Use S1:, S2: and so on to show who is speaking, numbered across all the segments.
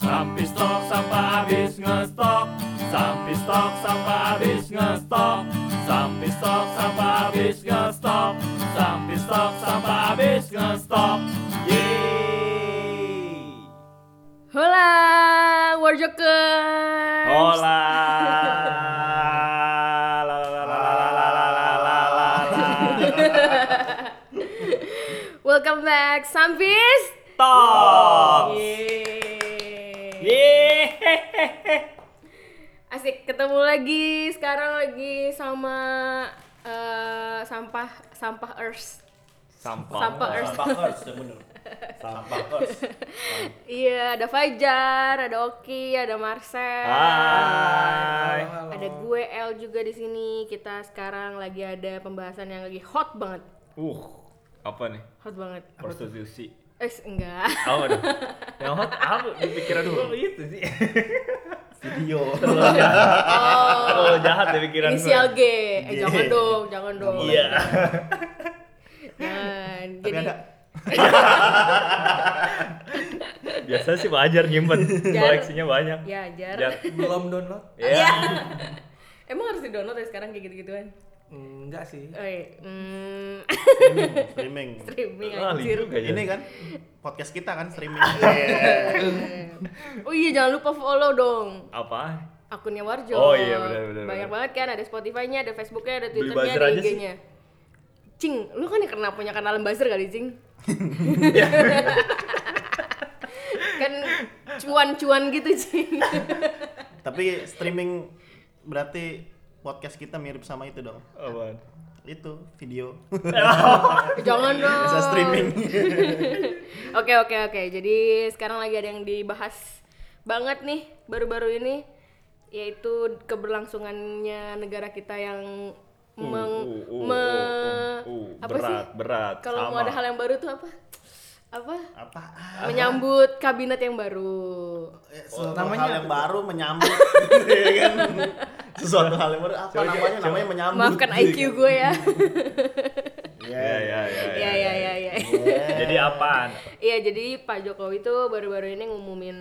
S1: Sampai stok sampai habis ngestok Sampai stok sampai habis ngestok Sampai stok sampai habis ngestok Sampai stok sampai habis ngestok Yeay
S2: Hola, Warjokers.
S1: Hola
S2: Welcome back, Sampis.
S1: Top.
S2: Yeay.
S1: Yeay.
S2: Asik ketemu lagi. Sekarang lagi sama eh, sampah sampah Earth.
S1: Sampah.
S2: Sampah Earth.
S1: Sampah Earth, ya bener. Sampah Earth.
S2: Iya, ada Fajar, ada Oki, ada Marcel.
S1: Hai.
S2: Ada gue El juga di sini. Kita sekarang lagi ada pembahasan yang lagi hot banget.
S1: Uh, apa Oh. nih?
S2: Hot banget.
S1: Prostitusi.
S2: Eh, enggak.
S1: Apa nih? Yang hot apa? Dipikiran dulu.
S3: itu sih video
S1: Oh, Terlalu jahat ya pikiran
S2: Oh, Inisial G. Eh,
S3: G.
S2: jangan dong, jangan dong.
S1: gue. Iya.
S2: Nah,
S3: tapi
S2: jadi
S3: ada
S1: Biasa sih wajar nyimpen.
S2: Jar.
S1: Koleksinya banyak.
S2: ya jar.
S1: Jar.
S3: belum download
S1: Iya.
S2: Emang harus di-download ya sekarang kayak gitu-gituan?
S3: enggak sih
S2: Oh, iya. Hmm,
S4: streaming.
S2: streaming
S1: Ah,
S2: Iya. anjir.
S1: juga ya.
S4: Ini kan podcast kita kan streaming.
S2: Oh iya, jangan lupa follow dong
S1: apa?
S2: akunnya Warjo.
S1: Oh iya, benar, benar,
S2: Banyak
S1: benar.
S2: banget kan, ada Spotify-nya, ada Facebook-nya, ada
S1: Beli
S2: Twitter-nya,
S1: buzzer
S2: ada
S1: aja sih.
S2: IG-nya. Cing, lu kan yang kena punya kanal buzzer kali, Cing? kan cuan-cuan gitu, Cing.
S4: Tapi streaming berarti podcast kita mirip sama itu dong.
S1: Apaan?
S4: Itu video.
S2: Oh. Jangan dong.
S4: Bisa streaming.
S2: Oke oke oke. Jadi sekarang lagi ada yang dibahas banget nih baru-baru ini yaitu keberlangsungannya negara kita yang meng
S1: Uh, uh, uh,
S2: me-
S1: uh, uh,
S2: apa sih?
S1: berat, berat.
S2: Kalau mau
S1: sama.
S2: ada hal yang baru tuh apa? Apa? Oh,
S4: Apa?
S2: Menyambut kabinet yang baru.
S4: Eh, Sesuatu
S3: namanya
S4: hal yang
S3: apa?
S4: baru menyambut. Iya kan? Sesuatu hal yang baru apa
S1: Coba,
S4: namanya?
S1: coba.
S4: Namanya menyambut.
S2: Maafkan IQ gue ya.
S1: Iya, iya, iya.
S2: Iya iya iya iya.
S1: Jadi apaan?
S2: Iya jadi Pak Jokowi itu baru-baru ini ngumumin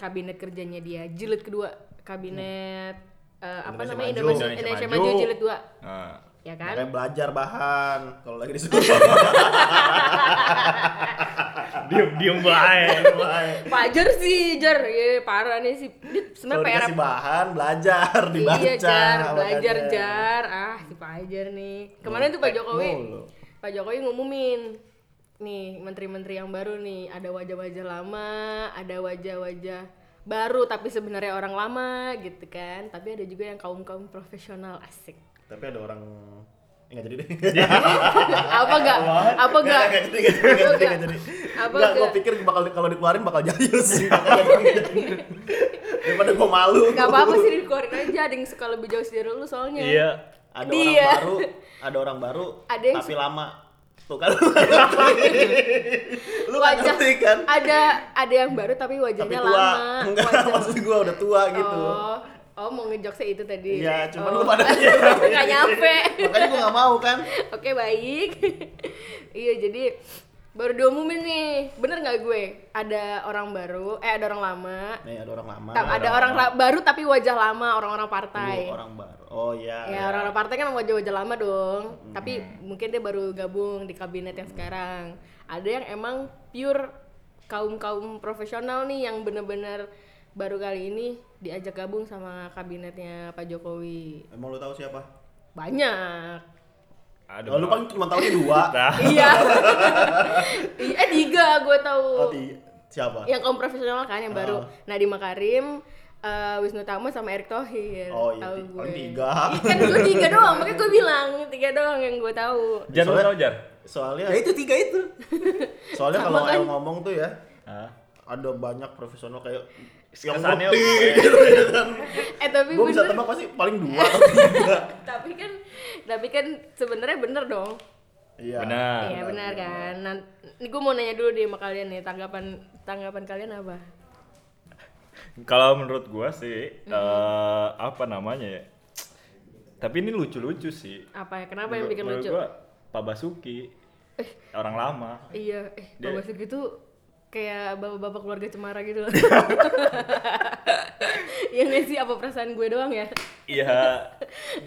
S2: kabinet kerjanya dia jilid kedua kabinet eh, apa
S4: Indonesia
S2: namanya
S4: Maju.
S2: Indonesia,
S1: Indonesia
S2: Indonesia
S1: Maju.
S2: Maju. jilid dua
S1: Nah.
S2: ya kan
S4: Makanya belajar bahan kalau lagi disuruh.
S1: Diem diem baik.
S2: Pak Jer sih Jer ya parah nih sih Dia
S4: Kalau
S2: sebenarnya PR
S4: dikasih bahan, belajar, dibaca.
S2: iya Jar belajar
S4: makanya.
S2: Jar ah si Pak Jer nih kemarin tuh Pak Jokowi
S4: mulu.
S2: Pak Jokowi ngumumin nih menteri-menteri yang baru nih ada wajah-wajah lama ada wajah-wajah baru tapi sebenarnya orang lama gitu kan tapi ada juga yang kaum kaum profesional asik
S4: Tapi ada orang enggak jadi deh.
S2: apa enggak apa enggak
S4: Nggak, nggak jadi, nggak jadi,
S2: Apa
S4: nggak
S2: nggak?
S4: jadi.
S2: Apa
S4: Nggak, gua
S2: nggak?
S4: pikir bakal kalau dikeluarin bakal jayus. Makanya gua nggak jadi. Daripada gua malu.
S2: nggak apa-apa sih dikeluarin aja ada yang suka lebih jauh dari lu soalnya
S1: Iya.
S4: Ada
S2: Dia.
S4: orang baru, ada orang baru,
S2: Ada yang
S4: tapi lama. Tuh kan. lu ngerti. lu nggak
S2: wajah
S4: ngerti kan?
S2: ada ada yang baru tapi
S4: Tapi
S2: wajahnya
S4: tua.
S2: lama
S4: Enggak,
S2: Wajah-
S4: maksud gua udah tua gitu.
S2: oh oh mau ngejokesnya itu tadi
S4: Iya, cuman
S2: Oh.
S4: lu pada
S2: nggak nyampe
S4: Makanya gua nggak mau kan.
S2: oke baik iya jadi baru diumumin nih bener nggak gue ada orang baru eh ada orang lama
S4: Nih ada orang lama.
S2: Ta- ada orang ra- baru tapi wajah lama orang-orang partai
S4: Tuh, orang baru. Oh iya.
S2: ya orang-orang partai kan wajah-wajah lama dong tapi
S4: Hmm.
S2: mungkin dia baru gabung di kabinet yang sekarang ada yang emang pure kaum kaum profesional nih yang bener-bener baru kali ini diajak gabung sama kabinetnya Pak Jokowi
S4: Emang lu tahu siapa?
S2: banyak
S1: Aduh.
S4: Oh, lu paling cuma tahu dua.
S1: Nah.
S2: iya I- eh tiga gue tahu
S4: Oh, Ah. ti- siapa?
S2: yang kaum profesional kan yang baru Nadiem Makarim eh, Wisnu Tama sama Erick Thohir
S4: Oh iya,
S2: tahu
S4: ti-
S2: gue
S4: paling tiga.
S2: Iya, kan gue tiga doang makanya gue bilang tiga doang yang gue tahu
S1: Jar lu
S4: Soalnya-
S1: tau Jar?
S4: Soalnya
S3: ya itu tiga itu
S4: soalnya
S2: Sama
S4: kalau
S2: kan?
S4: El ngomong tuh ya
S1: Hah?
S4: ada banyak profesional kayak yang
S1: Kesannya-
S4: ngerti
S2: eh tapi
S4: gue bisa
S2: bener
S4: tebak pasti paling dua atau tiga
S2: tapi kan tapi kan sebenarnya bener dong
S4: iya
S1: Benar.
S2: iya benar kan nah, ini gue mau nanya dulu deh sama kalian nih tanggapan tanggapan kalian apa
S1: Kalau menurut gua sih
S2: Mm-hmm.
S1: eh apa namanya ya? Tapi ini lucu-lucu sih.
S2: apa ya kenapa yang bikin
S1: Menurut
S2: lucu Eh.
S1: Gua, Pak Basuki. Orang lama.
S2: iya eh
S1: Dia-
S2: Pak Basuki tuh kayak bapak-bapak keluarga cemara gitu loh. Iya nggak sih apa perasaan gue doang ya?
S1: Iya,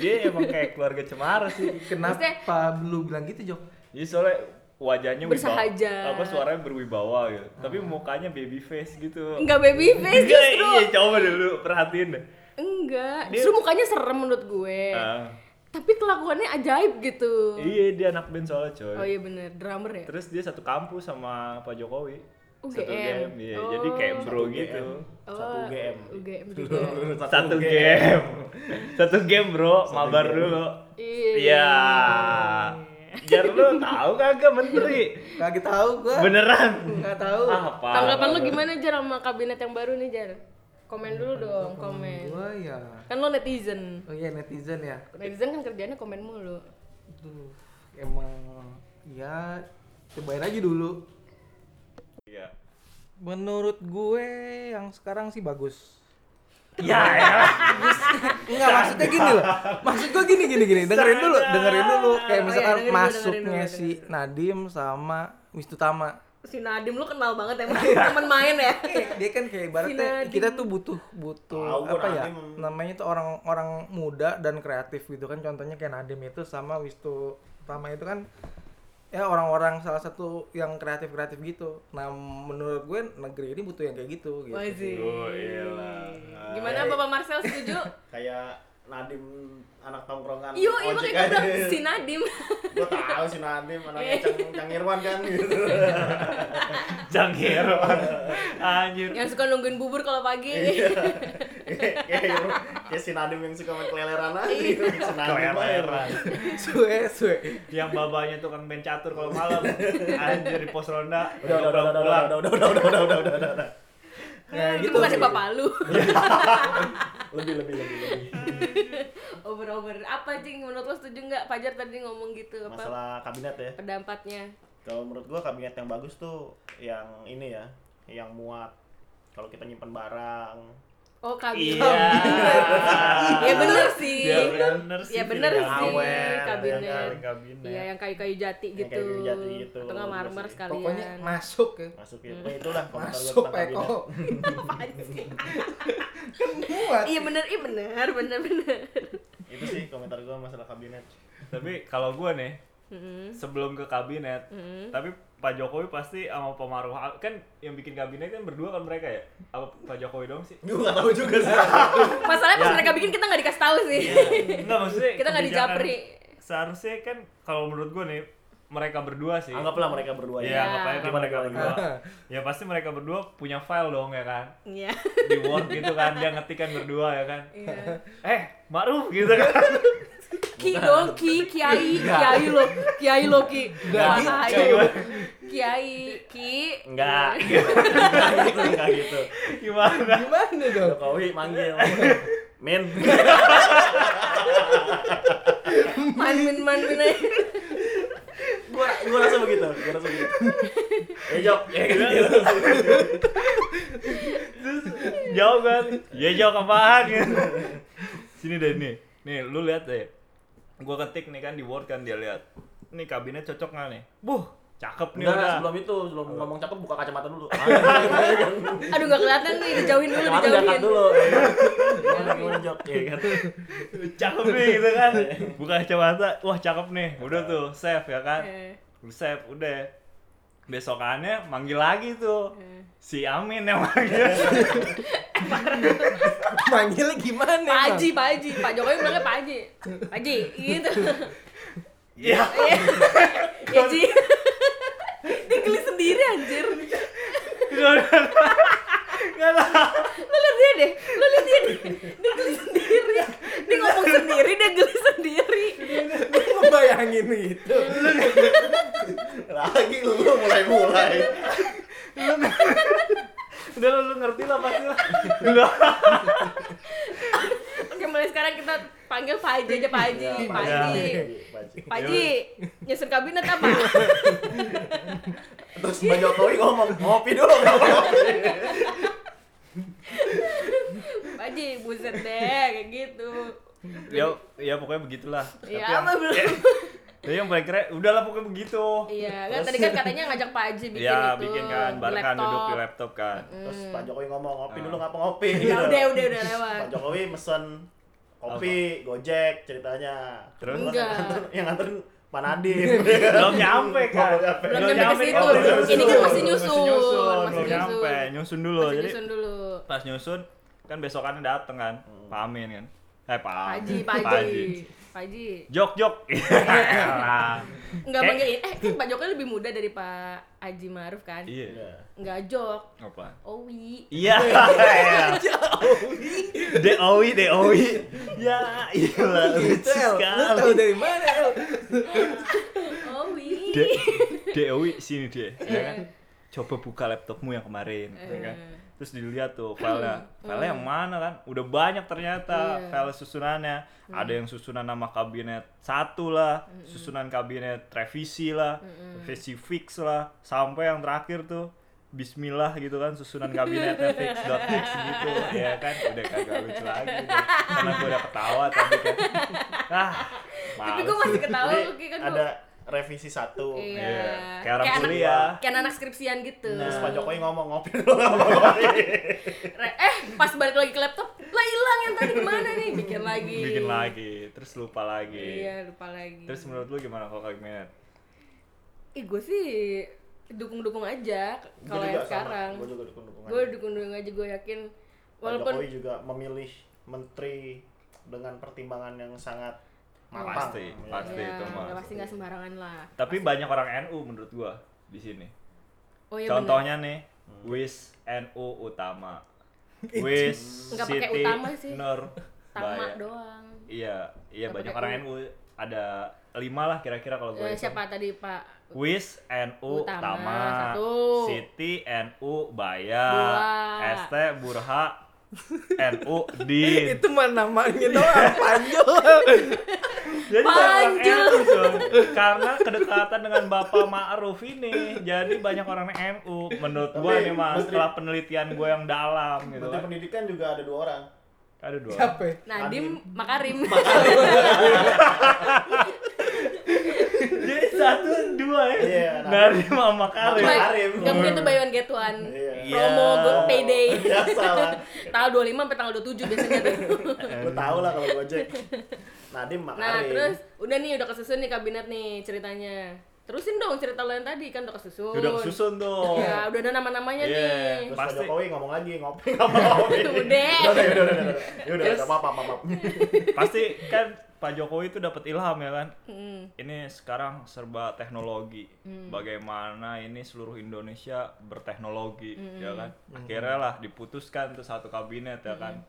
S1: dia emang kayak keluarga cemara sih.
S3: Kenapa lu bilang gitu, Jok?
S1: Jadi soalnya wajahnya wibawa-
S2: Bersahaja.
S1: apa suaranya berwibawa gitu. Tapi mukanya baby face gitu.
S2: Enggak baby
S1: Iya,
S2: face justru.
S1: Iya, coba dulu perhatiin deh.
S2: Enggak,
S1: Dia-
S2: justru mukanya serem menurut gue.
S1: Ah.
S2: Tapi kelakuannya ajaib gitu.
S1: iya, dia anak band soalnya coy.
S2: Oh iya bener, drummer ya?
S1: Terus dia satu kampus sama Pak Jokowi.
S2: UGM.
S1: Satu game, iya.
S2: Oh.
S1: Jadi kayak bro
S4: Satu
S1: gitu.
S2: Oh,
S4: Satu UGM.
S2: UGM juga.
S1: Satu game. Satu game, Bro. Mabar dulu.
S2: Iya.
S1: Iya. Biar lu tahu kagak menteri.
S3: Kagak tahu gua.
S1: Beneran.
S3: Nggak tahu.
S1: Apa?
S2: Tanggapan lu gimana Jar sama kabinet yang baru nih Jar? Komen dulu dong, komen.
S3: Gua ya.
S2: Kan lo netizen.
S3: Oh iya netizen ya.
S2: Netizen kan kerjanya komen mulu.
S3: Aduh, emang ya cobain aja dulu.
S1: Iya.
S3: Menurut gue yang sekarang sih bagus.
S1: Ya, ya.
S3: Enggak, maksudnya gini loh. Maksud gue gini gini gini. Dengerin dulu, dengerin dulu.
S2: Oh
S3: Kayak
S2: iya,
S3: misalkan
S2: dengerin dulu, dengerin
S3: masuknya
S2: dulu,
S3: si Nadim sama Wistutama.
S2: Si Nadim lu kenal banget emang teman main ya.
S3: dia kan kayak ibaratnya
S2: Nadim.
S3: kita tuh butuh butuh
S4: Tahu gua
S3: apa ya
S4: Nadim.
S3: namanya tuh orang-orang muda dan kreatif gitu kan contohnya kayak Nadim itu sama Wistu Tama itu kan ya orang-orang salah satu yang kreatif kreatif gitu nah menurut gue negeri ini butuh yang kayak gitu gitu
S2: Wazir.
S1: Oh, iyalah.
S2: Gimana Bapak Marcel setuju?
S4: Kayak Nadim anak tongkrongan
S2: Yo, iya
S4: ojek
S2: makanya gue
S4: aja.
S2: bilang si Nadim.
S4: Gua tahu si Nadim anaknya Cang, Cang Irwan kan gitu.
S1: Jangkir. Anjir.
S4: Iya.
S2: yang suka nungguin bubur kalau pagi.
S4: Kayak- kayak kayak si Nadim yang suka main keleleran aja
S2: Iya.
S4: gitu. Si Nadim aja.
S1: Keleran.
S3: suwe suwe
S1: Yang babanya tukang main catur kalau malam. Anjir di pos ronda.
S4: Udah, udah, udah, udah, udah, udah, udah, udah, udah, udah, udah, udah, udah.
S2: Nah,
S3: gitu
S2: itu bukan
S3: sih.
S2: bapak lu.
S4: Lebih, lebih, lebih, lebih.
S2: Over-over. Apa Cing? Menurut lo setuju nggak? Pajar tadi ngomong gitu apa?
S4: Masalah kabinet ya.
S2: Pendampatnya.
S4: Kalau menurut gua kabinet yang bagus tuh yang ini ya, yang muat. Kalau kita nyimpan barang,
S2: Oh, kabinet.
S1: Iya.
S2: ya bener sih.
S1: Ya bener sih.
S2: Ya bener
S1: pilihan
S2: sih
S1: awet,
S2: kabinet.
S1: ya kan, kabinet.
S2: Iya, yang kayu-kayu jati
S4: Yang
S2: gitu.
S4: kayu-kayu jati gitu,
S2: Atau nggak
S4: bener
S2: marmer
S4: sih.
S2: sekalian.
S3: pokoknya masuk ya
S4: masuk ya. Nah, itulah komentar gua
S3: masuk
S4: tentang kabinet.
S3: Eko Kan
S2: Apaan sih?
S3: muat
S2: Iya bener, iya bener, bener bener.
S4: Itu sih komentar gua masalah kabinet.
S1: Tapi kalau gua nih
S4: Hmm?
S1: sebelum ke kabinet,
S2: Mm.
S1: tapi Pak Jokowi pasti sama pemaruf kan yang bikin kabinet kan berdua kan mereka ya? Apa Pak Jokowi doang sih?
S4: Gua nggak tahu juga sih.
S2: Masalahnya pas mereka bikin kita nggak dikasih tahu sih.
S4: Hmm.
S1: Enggak maksudnya
S2: Kita nggak
S1: kebijakan-
S2: dijapri.
S1: Seharusnya kan kalau menurut gua nih mereka berdua sih.
S4: Anggaplah mereka berdua
S1: Iya,
S4: ya.
S1: anggap aja kan
S4: Gimana,
S1: mereka
S4: gimana,
S1: berdua. ya pasti mereka berdua punya file dong ya kan.
S2: Iya.
S1: Di Word gitu kan dia ngetikan berdua ya kan.
S2: Iya.
S1: Eh, Ma'ruf gitu kan.
S2: Ki dong, Ki, Kiai, Kiai lo, Kiai lo Ki.
S3: Nggak
S2: Wah,
S3: gitu.
S2: ayo. Kiai, Ki.
S4: Enggak. Enggak gitu, enggak gitu.
S1: Gimana?
S3: gimana dong
S4: Jokowi manggil. Min.
S2: Man min man min. aja.
S4: Gua gua rasa begitu, gua rasa begitu. Ya, Jok. Ya, gitu.
S1: jauh kan ya jauh apaan gitu sini deh nih nih lu lihat deh gua ketik nih kan di word kan dia lihat nih kabinet cocok nggak nih buh cakep nih
S4: Enggak,
S1: udah
S4: sebelum itu, sebelum ngomong cakep buka kacamata dulu.
S2: Aduh nggak kelihatan nih, dijauhin Iya. dulu,
S4: Kacamata diangkat
S2: dijauhin.
S4: kan dulu. Gimana gimana Jok? Ya kan.
S1: cakep nih gitu kan buka kacamata wah cakep nih udah tuh save ya kan
S2: Eh,
S1: lu save udah besokannya manggil lagi tuh
S2: eh.
S1: si Amin yang manggil
S3: manggilnya gimana
S2: Pak
S3: Bang?
S2: Haji, Pak Haji, Pak Jokowi bilangnya Pak Haji, Pak Haji, gitu. Iya.
S1: ya
S2: Ya Ji, dia geli sendiri anjir.
S1: nggak lah
S2: Lo liat dia deh, lo liat dia deh, dia geli sendiri, dia ngomong sendiri, dia geli sendiri.
S3: Gue ngebayangin gitu
S4: Lagi lu mulai-mulai.
S1: udah lu, lu ngerti lah pasti lah udah
S2: Oke mulai sekarang kita panggil Pak Haji aja Pak Haji, Pak
S1: Iya.
S2: Haji. Pak Haji, nyusun kabinet apa?
S4: Terus Mbak Jokowi ngomong, ngopi dulu.
S2: Pak Haji, buset deh, kayak gitu.
S1: ya ya pokoknya begitulah
S2: Ya
S1: Tapi yang-
S2: apa belum?
S1: Jadi yang paling keren, udahlah pokoknya begitu.
S2: Iya, kan
S1: Terus-
S2: tadi kan katanya ngajak Pak Aji bikin
S1: Iya,
S2: itu.
S1: bikin kan, bareng duduk di
S2: laptop.
S1: laptop kan.
S4: Terus Pak Jokowi ngomong ngopi dulu
S1: Ah.
S4: ngapa ngopi?
S2: Ya
S4: gitu.
S2: udah, udah, udah lewat.
S4: Pak Jokowi mesen kopi, Gojek ceritanya.
S1: Terus?
S4: Cuman
S2: Enggak.
S4: yang nganterin, yang nganterin Pak Nadiem.
S1: Belum nyampe kan.
S2: Belum nyampe ke situ.
S1: belum nyampe.
S2: Ini kan masih
S1: Belum
S2: nyusun, masih
S1: Belum nyampe,
S2: nyusun.
S1: nyusun dulu.
S2: Masih
S1: Jadi
S2: nyusun dulu.
S1: pas nyusun kan besokannya dateng kan. Pak Amin kan. Eh Pak
S2: Pak Aji,
S1: Amin.
S2: Pak Aji. Pak Aji.
S1: Jok jok. Iya. Elah.
S2: Enggak
S1: Kayak-
S2: manggil eh kan Pak Jokowi lebih muda dari Pak Haji Maruf kan?
S1: Iya.
S4: Iya.
S2: Enggak jok.
S1: Apa?
S2: Owi.
S1: Iya. Doi, Doi. Ya, iya lucu
S3: Cel, lu tahu
S1: sekali.
S3: dari mana El?
S2: Owi.
S1: De, Dewi sini deh, ya
S2: Iya.
S1: kan? Coba buka laptopmu yang kemarin, ya kan?
S2: Eh. Mm.
S1: Terus dilihat tuh filenya, filenya yang mana kan? Udah banyak ternyata
S2: Iya. Mm.
S1: file susunannya. Ada yang susunan nama kabinet satu lah, susunan kabinet revisi lah, revisi fix lah, sampai yang terakhir tuh Bismillah gitu kan susunan kabinetnya fix dot fix gitu ya kan udah kagak lucu lagi tuh. karena gue udah ketawa tadi kan ah
S2: Tapi
S1: males.
S2: gue masih ketawa
S4: Jadi
S2: oke kan gua-
S4: ada revisi satu.
S2: Iya.
S1: Iya. Kayak orang
S2: anak-
S1: kuliah. Nah.
S2: Kayak anak skripsian gitu.
S4: Terus Pak Jokowi ngomong ngopi dulu ngapa ngopi.
S2: Re- eh pas balik lagi ke laptop lah hilang yang tadi kemana nih bikin lagi
S1: bikin lagi terus lupa lagi
S2: iya lupa lagi
S1: terus menurut lu gimana kalau kabinet
S2: ih gue sih dukung dukung aja kalau yang sekarang
S4: Gue juga dukung dukungan.
S2: gue dukung dukung aja gue yakin
S4: Pak Jokowi
S2: walaupun
S4: juga memilih menteri dengan pertimbangan yang sangat matang.
S1: pasti
S4: Ya.
S1: pasti
S2: ya
S1: itu mah
S2: nggak pasti nggak sembarangan lah
S1: tapi banyak orang NU menurut gua di sini
S2: oh iya bener.
S1: contohnya nih Wis NU utama Wis
S2: Nggak pakai
S1: Siti
S2: utama sih.
S1: Nur
S2: tama
S1: Baya.
S2: doang
S1: iya iya
S2: Nggak
S1: banyak
S2: pakai
S1: orang NU ada lima lah kira-kira kalau gue
S2: Eh, siapa tadi pak
S1: Wis NU
S2: Utama,
S1: Utama,
S2: satu.
S1: Siti NU Baya,
S2: Dua.
S1: ST Burha NU Din.
S3: Itu mah namanya doang, panjol.
S1: Jadi banyak
S2: Panjul.
S1: NU dong. gitu. karena kedekatan dengan Bapak Ma'ruf ini, jadi banyak orang NU. Menurut gua
S4: Tapi
S1: nih mas,
S4: menteri-
S1: setelah penelitian gua yang dalam gitu
S4: Menteri
S1: kan.
S4: Pendidikan juga ada dua orang.
S1: Ada dua.
S3: Siapa? ya?
S2: Nadim Nah, Makarim
S1: Jadi satu dua ya.
S4: Iya, nah.
S1: Dari Mama Karim.
S4: Baik.
S2: Makarim
S4: Makarim.
S2: nggak mungkin tuh buy one get one
S4: Iya.
S2: promo go payday
S4: Biasa lah.
S1: Iya.
S2: tanggal 25 sampai tanggal 27 biasanya tuh
S4: Gue tau lah kalau Gojek. Nadiem Makarim.
S2: Nah, terus udah nih udah kesusun nih kabinet nih ceritanya. Terusin dong cerita lo yang tadi kan udah kesusun.
S1: Udah kesusun tuh.
S2: Ya, udah ada nama-namanya
S1: Iya.
S4: Terus
S2: nih.
S4: Pak
S1: Pasti.
S4: Jokowi ngomong lagi ngopi ngapa ngopi.
S2: Udah.
S4: Udah, udah, udah, udah. Ya udah,
S1: Terus-
S4: udah, maaf, maaf, maaf.
S1: Pasti kan Pak Jokowi itu dapat ilham ya kan.
S2: Hmm.
S1: ini sekarang serba teknologi. Bagaimana ini seluruh Indonesia berteknologi,
S2: Hmm.
S1: ya kan? Akhirnya lah diputuskan tuh satu kabinet ya kan.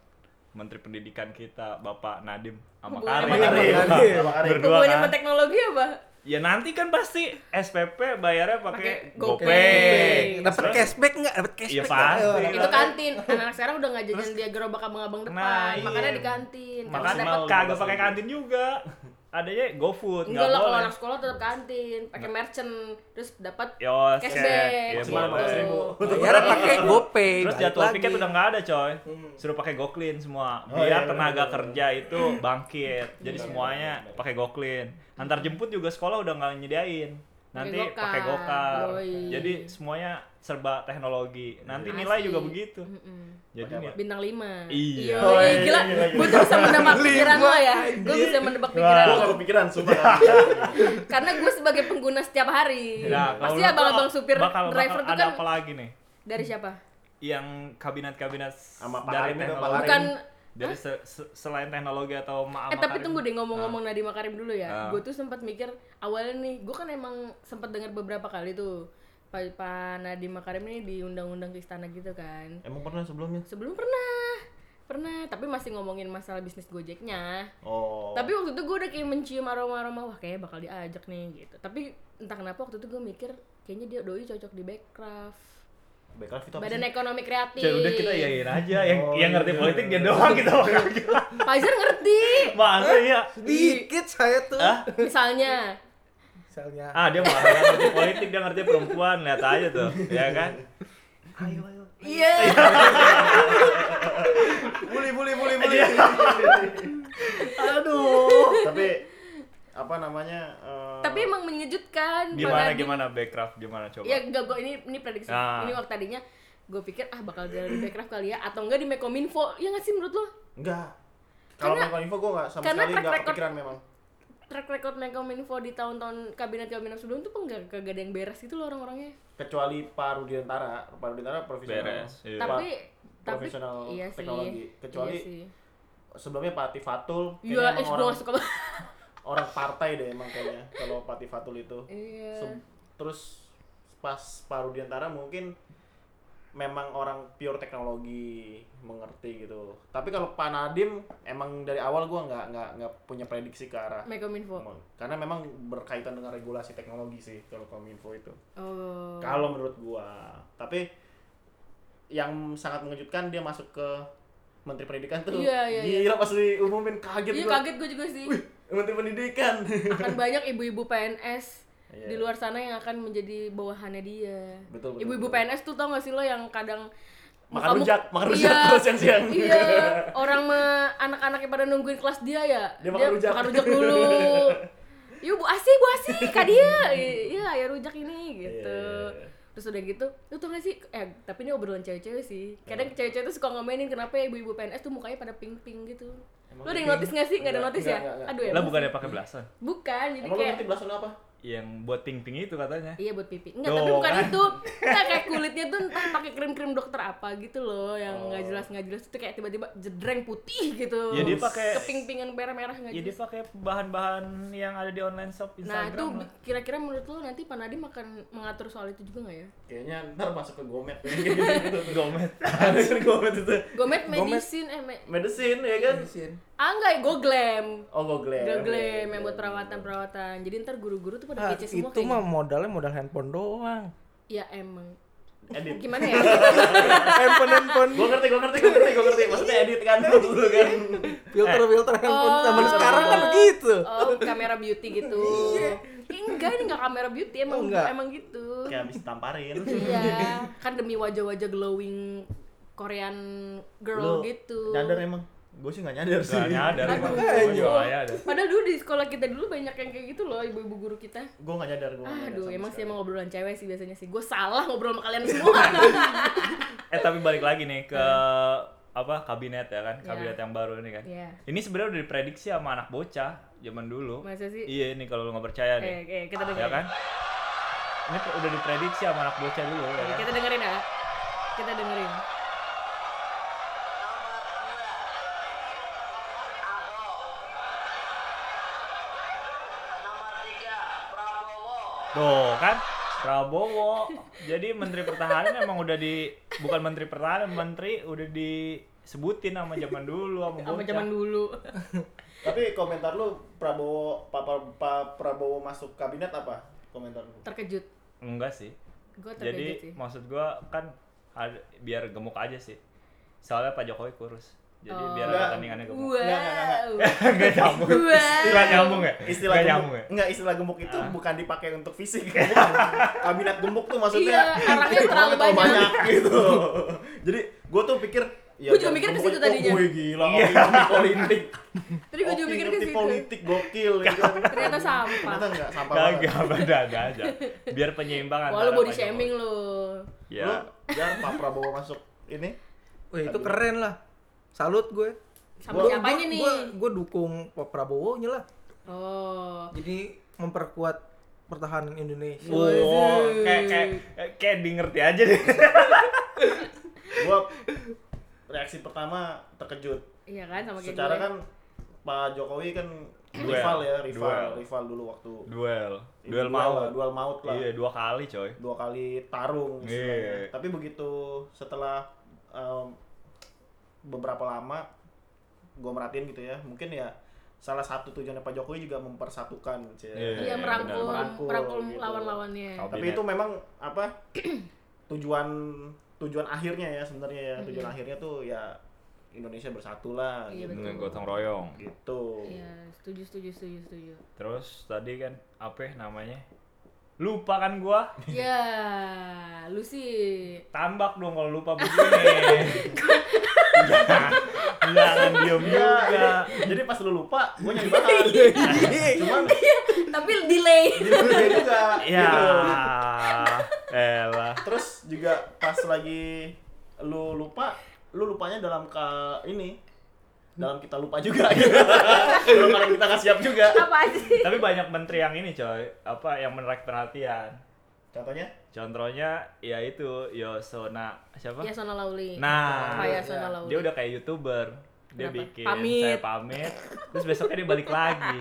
S1: Menteri Pendidikan kita Bapak Nadiem sama
S2: Hubungannya
S1: Karim.
S2: sama
S4: Makarim.
S3: Makarim.
S4: Makarim.
S1: Berdua
S2: Hubungannya
S1: kan?
S2: sama teknologi apa?
S1: Ya nanti kan pasti SPP bayarnya pakai
S2: Pakai
S1: GoPay.
S2: GoPay.
S3: Dapat
S1: Terus- Iya,
S3: cashback nggak? Dapat cashback nggak?
S1: pasti.
S3: Ayo,
S2: Itu kantin. Anak sekarang udah nggak jajan dia gerobak abang-abang depan,
S1: Iya. Nah, iya.
S2: makanya di kantin. Kalau
S1: Makanya
S2: dapat
S1: dapat kagak pakai kantin juga. Adanya GoFood,
S2: enggak
S1: enggak
S2: lah kalau
S1: boleh.
S2: anak sekolah tetap kantin, pakai merchant, terus dapat
S1: Yos,
S2: Cashback.
S1: ya
S4: Cuma
S1: boleh.
S4: 15 ribu.
S3: Bayarnya pakai GoPay.
S1: Terus
S3: balik
S1: jadwal
S3: lagi.
S1: piket udah nggak ada coy, suruh pakai goklin semua,
S4: Hmm. Oh, iya,
S1: biar
S4: iya,
S1: tenaga
S4: iya, iya.
S1: kerja itu bangkit. Jadi semuanya pakai goklin. Antar jemput juga sekolah udah nggak nyediain. Nanti
S2: Pakai gokar.
S1: pakai gokar.
S2: Yoi.
S1: Jadi semuanya serba teknologi. Nanti nilai juga
S2: Asik.
S1: begitu. Jadi
S4: Pakai
S1: ya-
S2: bintang 5
S1: Iya.
S2: Yoi,
S4: Woi,
S2: gila,
S4: gila, gila.
S2: gue tuh bisa menebak pikiran lo ya Gue bisa menebak pikiran lo
S4: Gue gak kepikiran, sumpah.
S2: Karena gue sebagai pengguna setiap hari
S1: Nah, kalau
S2: Pasti
S1: menurut
S2: abang-abang
S1: lo,
S2: supir
S1: bakal,
S2: driver
S1: bakal
S2: tuh
S1: ada
S2: kan
S1: apa lagi nih?
S2: Dari siapa?
S1: Yang kabinet-kabinet
S4: Sama Pak
S1: dari
S4: Arim itu, Pak
S1: teknologi.
S4: Arim.
S2: Bukan
S1: Dari se- se- selain teknologi atau ma-
S2: Eh tapi
S1: makarim.
S2: tunggu deh ngomong-ngomong Nadiem Makarim dulu
S1: Ah.
S2: ya Gue tuh sempat mikir awalnya nih Gue kan emang sempat dengar beberapa kali tuh Pak, Pak Nadiem Makarim ini diundang-undang ke istana gitu kan
S4: Emang pernah sebelumnya?
S2: Sebelum pernah Pernah, tapi masih ngomongin masalah bisnis gojeknya
S4: Oh.
S2: Tapi waktu itu gue udah kayak mencium aroma-aroma wah kayaknya bakal diajak nih gitu. Tapi entah kenapa waktu itu gue mikir kayaknya dia doi cocok di backcraft.
S4: Backcraft itu apa
S2: Badan ekonomi kreatif.
S1: Cek, udah kita iya, yain aja yang
S4: Oh,
S1: yang ngerti
S4: iya.
S1: politik dia doang gitu. kita bakal
S2: Fajar ngerti.
S1: Masa ya?
S3: Dikit saya tuh.
S2: Misalnya
S3: Misalnya.
S1: Ah dia marah nggak ngerti politik, dia ngerti perempuan, lihat aja tuh, ya kan?
S2: Iya.
S3: Bully, bully, bully, bully.
S4: Tapi apa namanya? eh,
S2: tapi emang mengejutkan
S1: Gimana
S2: Malah di-
S1: gimana backcraft gimana coba?
S2: ya enggak gue ini ini prediksi
S1: Ah.
S2: ini waktu tadinya gue pikir ah bakal dari Backcraft kali ya atau enggak di Mekominfo ya nggak sih menurut lo
S4: Enggak. Kalau
S2: Karena-
S4: Menko Info gue nggak sama
S2: karena
S4: sekali
S2: track
S4: nggak
S2: record-
S4: kepikiran memang.
S2: track record Mekominfo di tahun-tahun kabinet kabinet sebelum tuh enggak kagak ada yang beres gitu loh orang-orangnya
S4: Kecuali Pak Rudiantara. Pak Rudiantara profesional.
S1: Beres. Iya.
S4: Pak-
S2: tapi tapi
S4: profesional
S2: iya sih
S4: teknologi. Kecuali
S2: iya sih.
S4: sebelumnya Pak Tifatul.
S2: Iya, eh,
S4: Kayaknya emang
S2: gue
S4: orang,
S2: gak suka banget.
S4: orang partai deh emang kayaknya. Kalau Pak Tifatul itu.
S2: Iya.
S4: Se- Terus pas Pak Rudiantara mungkin memang orang pure teknologi mengerti gitu. Tapi kalau Pak Nadim emang dari awal gue nggak nggak nggak punya prediksi ke arah
S2: Mekominfo.
S4: karena memang berkaitan dengan regulasi teknologi sih kalau kominfo itu
S2: Oh.
S4: kalau menurut gua tapi yang sangat mengejutkan dia masuk ke menteri pendidikan tuh
S2: Iya, iya, iya.
S4: gila pas diumumin kaget
S2: Iya
S4: gua.
S2: kaget gue juga sih.
S4: menteri pendidikan
S2: Akan banyak ibu-ibu PNS
S4: Iya.
S2: di luar sana yang akan menjadi bawahannya dia.
S4: Betul, betul,
S2: Ibu-ibu
S4: betul.
S2: PNS tuh tau gak sih lo yang kadang
S4: makan
S2: muka-muka-
S4: rujak makan rujak
S2: Iya.
S4: terus siang-siang
S2: Iya, orang mah anak-anaknya pada nungguin kelas dia ya.
S4: Dia makan rujak.
S2: dulu. Yuk Bu Asi, Bu Asi, Kak dia. Iya, ya rujak ini gitu.
S4: Iya.
S2: Terus udah gitu, lu tau gak sih, eh tapi ini obrolan cewek-cewek sih Kadang
S4: Iya.
S2: cewek-cewek tuh suka ngomenin kenapa ya ibu-ibu PNS tuh mukanya pada pink-pink gitu Lu ada yang notice gak sih? Gak ada
S4: Enggak,
S2: notice ya?
S4: enggak, enggak, enggak.
S2: Aduh ya
S1: Lah bukan pakai belasan.
S2: Bukan, jadi
S4: emang lu
S2: kayak
S4: ngerti belasan apa
S1: Yang buat ting-ting itu katanya.
S2: Iya buat pipi. Enggak,
S1: Tuh,
S2: tapi bukan
S1: kan.
S2: itu. Enggak kayak kulitnya tuh entah pakai krim-krim dokter apa gitu loh yang nggak jelas nggak jelas itu kayak tiba-tiba jedreng putih gitu.
S1: Ya, dia pakai-
S2: keping-pingan merah-merah nggak
S1: Ya dia
S2: jelas.
S1: pakai bahan-bahan yang ada di online shop
S2: Iya, gitu. Nah, itu
S1: Instagram. lah.
S2: kira-kira menurut lo nanti Panadi akan mengatur soal itu juga nggak ya?
S4: kayaknya ntar masuk ke gomet gitu
S1: Gomet.
S4: gomet itu
S2: Gomet medicine eh me-
S4: medicine ya kan
S3: Isin.
S2: ah enggak, go glam.
S4: oh goglem
S2: Go glam
S4: iya,
S2: yang buat perawatan-perawatan. Jadi ntar guru-guru tuh pada
S3: Ah,
S2: kece semua
S3: itu
S2: kayak.
S3: mah modalnya modal handphone doang.
S2: Ya emang.
S4: edit
S2: Gimana ya?
S3: handphone handphone
S4: gue ngerti gue ngerti gue ngerti gue ngerti maksudnya edit kan dulu kan
S3: filter
S1: Eh.
S3: filter handphone zaman sekarang kan begitu. Iya.
S2: Oh, kamera beauty gitu. Eh, enggak, ini enggak kamera beauty, emang
S3: Oh, Enggak.
S2: emang gitu.
S4: kayak habis tamparin
S2: Iya, kan demi wajah-wajah glowing Korean girl gitu.
S4: nyadar emang gue sih nggak nyadar sih
S1: Gak nyadar.
S2: Aduh.
S1: Gua juga nggak nyadar.
S2: Padahal dulu di sekolah kita dulu banyak yang kayak gitu loh ibu-ibu guru kita.
S4: gue nggak nyadar gue
S2: Aduh, emang sih emang ngobrolan cewek sih biasanya sih. Gue salah ngobrol sama kalian semua.
S1: Eh tapi balik lagi nih ke apa kabinet ya kan kabinet yang baru ini kan
S2: Nah. Iya.
S1: ini sebenarnya udah diprediksi sama anak bocah zaman dulu
S2: Masa sih?
S1: iya ini kalau lu nggak percaya
S2: Oke,
S1: nih
S2: oke, kita
S1: ya
S2: dengerin.
S1: kan ini pre- udah diprediksi sama anak bocah dulu ya
S2: Oke,
S1: kan?
S2: Kita dengerin ya. Kita dengerin.
S1: Tuh kan Prabowo. Jadi Menteri Pertahanan emang udah di bukan Menteri Pertahanan, Menteri udah disebutin sama zaman dulu sama
S2: Apa
S1: bocah.
S2: zaman dulu?
S4: tapi komentar lu Prabowo Pak Pa- Pa- Prabowo masuk kabinet apa komentar lu
S2: Terkejut.
S1: Enggak sih.
S2: Gue terkejut
S1: Jadi
S2: Oh, sih.
S1: maksud gua kan ada- biar gemuk aja sih. Soalnya Pak Jokowi kurus. Jadi biar
S4: Enggak.
S1: pertandingannya gemuk.
S2: Oh. Wow.
S4: Enggak, enggak,
S1: Enggak nyambung.
S2: Wow.
S1: Enggak nyambung ya?
S4: istilah
S1: Nggak
S4: gemuk
S1: nyambung ya?
S4: nggak istilah gemuk itu bukan dipakai untuk fisik bukan. kabinet gemuk tuh maksudnya
S2: Iya, orangnya terlalu
S4: terlalu
S2: banyak.
S4: gitu jadi gue tuh pikir ya,
S2: Gua juga mikir ke situ tadinya.
S4: Wih gila,
S1: Iya.
S4: opini politik.
S2: Tadi gue juga mikir ke
S4: Opini
S2: situ.
S4: politik gokil gitu.
S2: Ternyata sampah.
S4: Ternyata enggak sampah
S1: Enggak,
S4: banget.
S1: enggak ada, enggak ada. Biar penyeimbangan.
S2: Wah, lu
S1: antara
S2: body
S1: Pak Jokowi.
S2: shaming lu.
S1: Ya.
S4: Lu jangan Pak Prabowo masuk ini.
S3: Wih, itu keren lah. Salut gue.
S2: Sama siapanya nih?
S3: Gue, gue dukung Pak Prabowo nya lah.
S2: Oh.
S3: Jadi memperkuat pertahanan Indonesia.
S1: Wow, kayak kayak kayak di ngerti aja deh.
S4: Gua reaksi pertama terkejut.
S2: Iya kan sama kayak
S4: Secara
S2: gue.
S4: kan Pak Jokowi kan
S1: Duel.
S4: rival ya, rival,
S1: Duel.
S4: rival dulu waktu
S1: Duel,
S4: ini
S1: duel
S4: lah,
S1: maut.
S4: duel maut lah.
S1: Iya, dua kali coy.
S4: Dua kali tarung
S1: Iya.
S4: istilahnya. Tapi begitu setelah em, beberapa lama gua merhatiin gitu ya, mungkin ya salah satu tujuannya Pak Jokowi juga mempersatukan cuy.
S1: Iya.
S2: Iya merangkul,
S4: benar. Merangkul,
S2: merangkul
S4: gitu.
S2: lawan-lawannya.
S1: Kamu-
S4: tapi
S1: Kabinet.
S4: itu memang apa tujuan tujuan akhirnya ya sebenarnya ya tujuan akhirnya tuh ya Indonesia bersatu lah
S2: Iya,
S4: gitu.
S1: Dengan gotong royong.
S4: gitu
S2: Iya, setuju, setuju, setuju, setuju.
S1: Terus tadi kan apa ya namanya? Lupa kan gua?
S2: ya, lu sih.
S1: Tambak dong kalau lupa begini. Ya,
S4: jangan diem
S1: Iya,
S4: juga
S1: iya.
S4: jadi pas lu lupa gue nyari bahan
S2: Iya,
S4: cuman
S2: tapi delay
S4: dibeli
S2: Iya.
S4: juga
S1: Ya,
S4: gitu.
S1: elah.
S4: terus juga pas lagi lu lupa lu lupanya dalam ke ini dalam kita lupa juga gitu dalam karena kita nggak siap juga
S2: apa sih
S1: Tapi banyak menteri yang ini coy, apa yang menarik perhatian.
S4: contohnya
S1: Contohnya ya itu Yosona siapa?
S2: Yasona Lauli
S1: Nah,
S2: Iya Pak Yasona Lauli
S1: dia udah kayak youtuber. Dia
S2: Kenapa?
S1: bikin
S2: Pamit.
S1: saya pamit, terus besoknya dia balik lagi.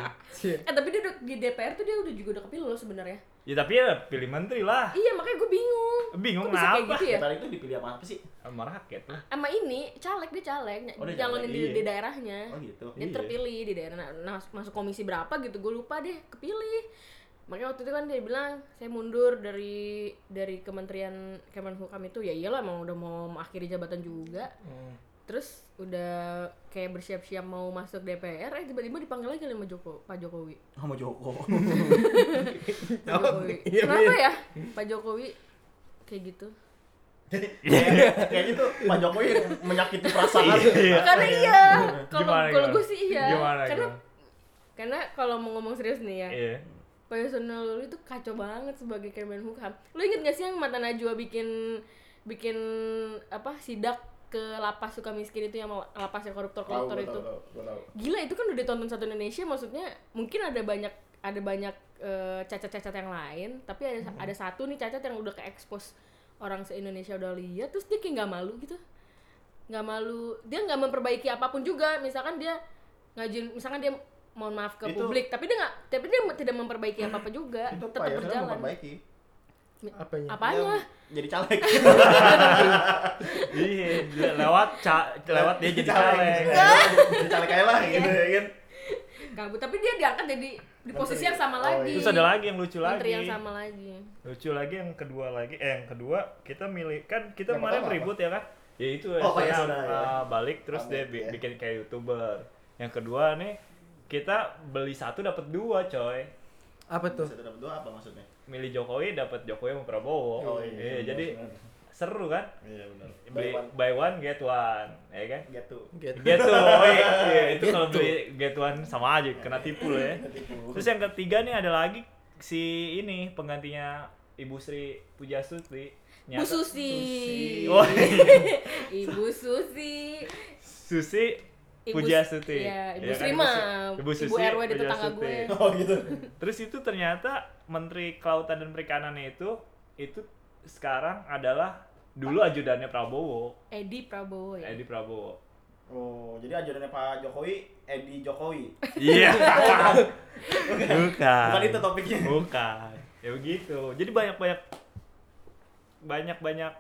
S2: eh tapi dia udah, di DPR tuh dia udah juga udah kepilih loh sebenarnya
S1: Ya tapi ya pilih menteri lah.
S2: iya makanya gue bingung
S1: Bingung
S2: Kok bisa kayak
S1: kenapa?
S2: gitu ya
S4: tadi itu dipilih apa apa sih
S2: Eh.
S1: Sama rakyat lah.
S2: sama ini caleg dia caleg
S4: Oh, dia
S2: nyalonin
S4: caleg,
S2: di,
S1: iya.
S2: di daerahnya
S4: oh gitu
S2: dia
S1: Iya.
S2: terpilih di daerah nah, mas- masuk komisi berapa gitu gue lupa deh kepilih makanya waktu itu kan dia bilang saya mundur dari dari kementerian Kemenhukam itu ya iyalah emang udah mau mengakhiri jabatan juga
S3: Hmm.
S2: terus udah kayak bersiap-siap mau masuk DPR eh tiba-tiba dipanggil lagi sama Joko Pak Jokowi
S4: sama Joko
S2: Pak
S4: Oh,
S2: Jokowi Iya,
S1: iya,
S4: iya,
S2: kenapa ya Pak Jokowi kayak gitu
S4: Kayak- kayaknya tuh Pak Jokowi yang menyakiti perasaan
S2: karena iya kalau
S1: Gimana,
S2: kalau
S1: gimana?
S2: gue sih iya
S1: Gimana,
S2: karena
S1: gimana?
S2: karena kalau mau ngomong serius nih ya
S1: Iya.
S2: personal lu itu kacau banget sebagai Kemenhukam. Lu inget gak sih yang Mata Najwa bikin bikin apa sidak ke lapas suka miskin itu yang lapasnya koruptor-koruptor itu. Gila itu kan udah ditonton satu Indonesia maksudnya mungkin ada banyak ada banyak eh, cacat-cacat yang lain tapi ada ada satu nih cacat yang udah ke expose orang se-Indonesia udah lihat terus dia kayak nggak malu gitu nggak malu dia nggak memperbaiki apapun juga misalkan dia ngajuin misalkan dia mohon maaf ke
S4: Itu-
S2: publik tapi dia nggak tapi dia tidak memperbaiki apa apa juga
S4: itu Pak
S2: tetap
S4: Yasona
S2: berjalan
S4: memperbaiki
S3: Apanya?
S2: apanya
S4: Dia jadi caleg
S1: Iya, dia lewat ca- lewat dia jadi caleg.
S4: jadi caleg aja lah gitu
S2: Iya.
S4: ya kan
S2: gabut tapi dia diangkat jadi di posisi
S4: Menteri.
S2: yang sama
S4: Oh,
S2: lagi
S4: iya.
S1: Terus ada lagi yang lucu
S2: menteri
S1: lagi.
S2: yang sama lagi
S1: Lucu lagi yang kedua lagi. Eh yang kedua kita milih kan kita
S4: Yang
S1: kemarin
S4: pertama
S1: ribut ya kan? Ya itu ya.
S4: Oh, Pak
S1: saya,
S4: Yasona, ya.
S1: uh, balik iya. terus
S4: Pamit,
S1: dia bi-
S4: ya.
S1: bikin kayak YouTuber. Yang kedua nih kita beli satu dapat dua coy.
S3: Apa tuh?
S4: satu dapat dua apa maksudnya
S1: Milih Jokowi dapat Jokowi sama Prabowo. Iya, jadi seru kan?
S4: iya benar
S1: Beli buy one get one, ya kan?
S4: gitu
S3: Gitu.
S1: Gitu, oh iya, iya, itu kalau beli get one sama aja kena tipu lo ya. Terus yang ketiga nih ada lagi si ini penggantinya Ibu Sri Pujastuti.
S2: Bu
S1: Nyata-
S2: Susi
S1: Wah,
S2: Ibu Susi
S1: Susi
S2: Ibu-
S1: Pujastuti.
S2: iya, Ibu
S1: Ya kan,
S2: Sri
S1: Ibu Su-
S2: mah, Ibu RW di tetangga
S1: Pujastuti.
S2: gue.
S4: oh gitu
S1: Terus itu ternyata Menteri Kelautan dan Perikanan itu itu sekarang adalah dulu ajudannya Prabowo,
S2: Edi Prabowo ya
S1: Edi Prabowo.
S4: oh jadi ajarannya Pak Jokowi Edi Jokowi
S1: Iya. Bukan.
S4: bukan itu topiknya
S1: Bukan. Ya begitu. Jadi banyak-banyak banyak-banyak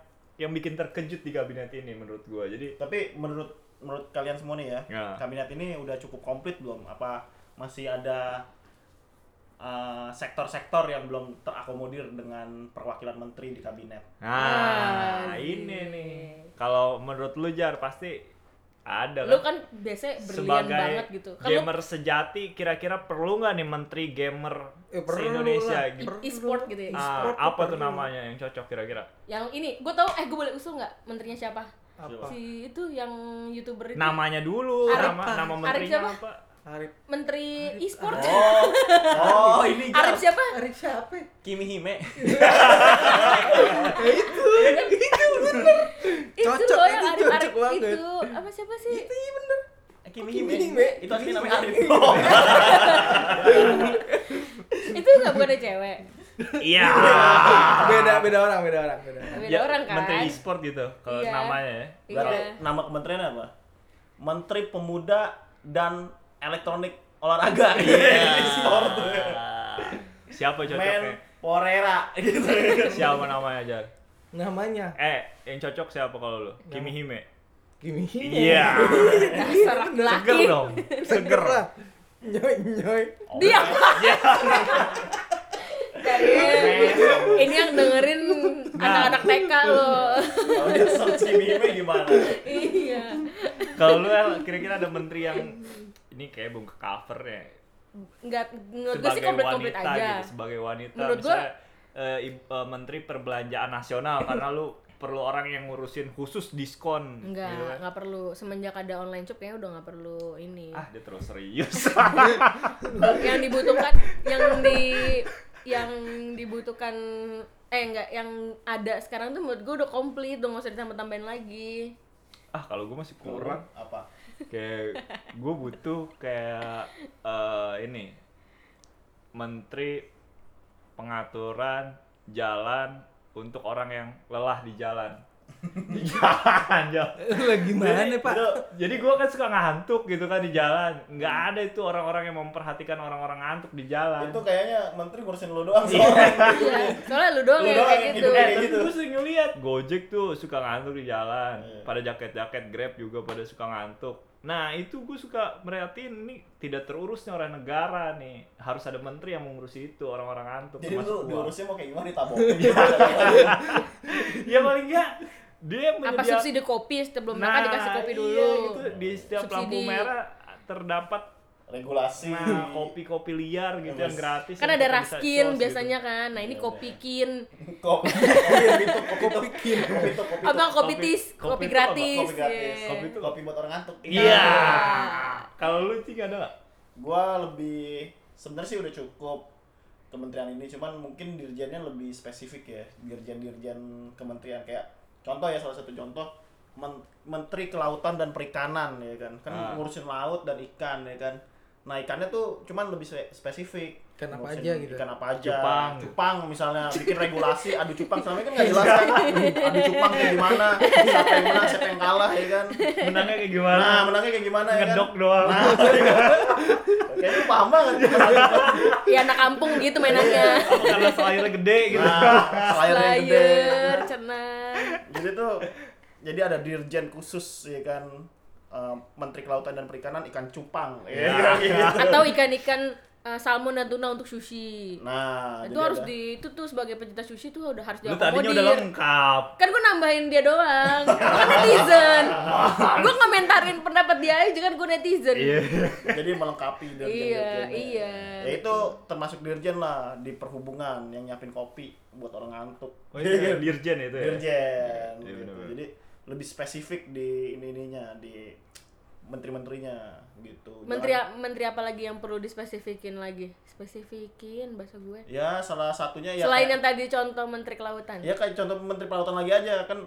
S1: yang bikin terkejut di kabinet ini menurut gua. Jadi
S4: tapi menurut menurut kalian semua nih ya,
S1: Ya.
S4: kabinet ini udah cukup komplit belum apa masih ada eh, sektor-sektor yang belum terakomodir dengan perwakilan menteri di kabinet
S1: nah,
S2: Ah,
S1: ini
S2: iya.
S1: nih. Kalau menurut lu Jar pasti ada
S2: lu kan biasanya berlian
S1: sebagai
S2: banget gitu kalau
S1: gamer sejati kira-kira perlu nggak nih menteri gamer
S3: Eh,
S1: se
S3: perlu
S1: Indonesia
S3: lah.
S1: gitu?
S2: I- e-sport gitu ya.
S1: Ah,
S3: E-sport tuh
S1: apa tuh
S3: perlu.
S1: namanya yang cocok kira-kira?
S2: yang ini gue tau eh gue boleh usul nggak menterinya siapa
S3: Apa?
S2: si itu yang youtuber itu ya?
S1: Namanya dulu,
S2: Arif.
S1: nama nama
S2: Arif
S1: menterinya
S2: siapa?
S1: apa?
S3: Arif.
S2: menteri e-sport ya?
S4: oh oh
S1: iya.
S4: ini
S2: Arif
S4: Jar
S2: siapa
S3: Arif siapa? ya?
S4: Kimi Hime
S2: itu
S1: Iya,
S3: Cocok,
S2: loh yang
S3: itu
S2: Arif Arif
S3: cocok banget.
S2: itu apa siapa sih
S3: iya
S4: Eh, Kimi
S3: Kimi
S4: Hime,
S3: Hime.
S4: itu asli
S3: Kimi
S4: namanya Arif
S3: Hime.
S4: Oh,
S2: itu nggak bukan cewek
S1: Iya.
S3: Beda beda orang, beda orang, beda orang.
S2: beda
S1: Ya,
S2: orang kan
S1: Menteri e-sport gitu kalau
S2: Iya.
S1: namanya ya.
S2: Iya.
S4: Berarti nama kementerian apa Menteri Pemuda dan Elektronik Olahraga
S1: Iya.
S4: Iya. Sport
S1: Siapa cocoknya?
S4: Men Porera gitu
S1: Siapa namanya Jar?
S3: Namanya
S1: Eh, yang cocok siapa kalau lu? Kimi Hime.
S3: Kimi.
S1: Iya.
S2: dasar
S1: Seger
S2: laki
S1: dong.
S3: Seger lah. Nyoy nyoy.
S2: diam
S1: Iya.
S2: ini yang dengerin
S1: Nah.
S2: anak-anak TK loh
S4: Kalau dia search Kimi Hime gimana
S2: iya
S1: Kalau lu El, kira-kira ada menteri yang ini kayak belum ke cover ya.
S2: nggak menurut gue sih
S1: Sebagai
S2: komplit komplit
S1: wanita
S2: aja
S1: gitu, sebagai wanita
S2: Menurut gua-
S1: misalnya eh, i- eh, menteri perbelanjaan nasional karena lu perlu orang yang ngurusin khusus diskon
S2: Enggak,
S1: gitu kan.
S2: enggak perlu. Semenjak ada online shop kayaknya udah nggak perlu ini.
S1: ah dia terus serius
S2: Yang dibutuhkan yang di yang dibutuhkan eh enggak yang ada sekarang tuh menurut gue udah komplit, udah nggak usah ditambah-tambahin lagi.
S1: ah kalau gue masih kurang
S4: apa
S1: kayak gue butuh kayak eh, ini menteri pengaturan jalan untuk orang yang lelah di jalan Di jalan jalan.
S3: Lah gimana pak?
S1: Itu- jadi gue kan suka ngantuk gitu kan di jalan nggak ada itu orang-orang yang memperhatikan orang-orang ngantuk di jalan
S4: itu kayaknya menteri ngurusin lo doang seorang
S2: Iya, soalnya lu doang
S4: Lu
S2: yang
S4: doang
S2: kayak
S4: yang
S2: gitu.
S4: gitu.
S1: Eh, tapi
S4: gitu.
S1: gue sering ngeliat Gojek tuh suka ngantuk di jalan.
S4: Iya.
S1: Pada jaket-jaket Grab juga pada suka ngantuk. Nah, itu gue suka merhatiin ini tidak terurusnya orang negara nih. Harus ada menteri yang mengurusi itu, orang-orang ngantuk
S4: jadi
S1: termasuk
S4: lu
S1: gua.
S4: diurusnya mau kayak gimana ditabok
S1: Ya paling enggak dia
S2: Apa
S1: menyediakan
S2: subsidi kopi sebelum
S1: Nah,
S2: makan dikasih kopi dulu.
S1: Iya, gitu. Di setiap lampu
S2: Subsidi.
S1: merah terdapat
S4: regulasi
S1: nah, kopi-kopi liar gitu
S4: Iya,
S1: yang gratis.
S2: Kan
S1: yang
S2: ada
S1: kita bisa
S2: raskin
S1: close gitu.
S2: biasanya kan. Nah, ini
S4: Iya,
S2: kopi kin.
S4: kopi Iya, gitu, kopi itu kopi
S3: Kopikin.
S4: kopi itu kopi itu
S2: Apa kopi
S1: kopi-
S2: tis,
S1: kopi itu
S2: kopi
S1: apa?
S2: gratis.
S4: kopi gratis
S2: iya.
S4: kopi itu kopi buat orang ngantuk
S1: Iya.
S2: Nah.
S1: Kalau lu sih ada nggak?
S4: gua lebih sebenarnya sih udah cukup kementerian ini cuman mungkin dirjennya lebih spesifik ya dirjen-dirjen kementerian kayak contoh ya salah satu contoh Men- menteri kelautan dan perikanan ya kan kan
S1: Ah.
S4: ngurusin laut dan ikan ya kan nah ikannya tuh cuman lebih se- spesifik
S3: Ikan apa
S4: Ngurusin
S3: aja gitu.
S4: ikan apa aja
S1: Cupang.
S4: cupang misalnya bikin regulasi adu cupang selama ini kan nggak
S3: Iya.
S4: jelas kan adu cupang kayak gimana siapa yang menang siapa yang kalah ya kan
S1: Menangnya kayak gimana?
S4: nah menangnya kayak gimana ya kan
S1: Iya. Ngedok doang.
S4: Nah, kayaknya lu paham banget.
S2: Iya anak kampung gitu mainannya.
S1: Apa karena selayarnya gede gitu?
S4: Nah, selayarnya gede.
S2: Slayer, cenang.
S4: Jadi tuh, jadi ada dirjen khusus ya kan, eh, Menteri Kelautan dan Perikanan ikan cupang. Ya,
S1: Iya.
S4: kan, gitu.
S2: Atau ikan-ikan eh, salmon dan tuna untuk sushi.
S4: Nah,
S2: itu
S4: jadi
S2: harus
S4: ada-
S2: di itu tuh sebagai pecinta sushi tuh udah harus
S1: Lu
S4: Iya.
S1: tadinya udah
S2: diakomodir.
S1: lengkap.
S2: Kan gue nambahin dia doang. Gua kan netizen. gue komentarin pendapat dia aja kan gue netizen.
S1: Iya.
S4: jadi melengkapi dirjen
S2: Iya, iya,
S4: Ya itu termasuk dirjen lah di perhubungan yang nyiapin kopi buat orang ngantuk.
S1: Oh, itu ya, dirjen itu ya.
S4: Iya, dirjen
S1: Iya,
S4: gitu.
S1: bener-bener.
S4: jadi lebih spesifik di ini ininya di menteri-menterinya gitu
S2: Menteri
S4: Jangan-
S2: menteri apa lagi yang perlu dispesifikin lagi? Spesifikin bahasa gue.
S4: ya salah satunya ya
S2: Selain
S4: kayak-
S2: yang tadi contoh menteri kelautan.
S4: ya kayak contoh menteri pelautan lagi aja kan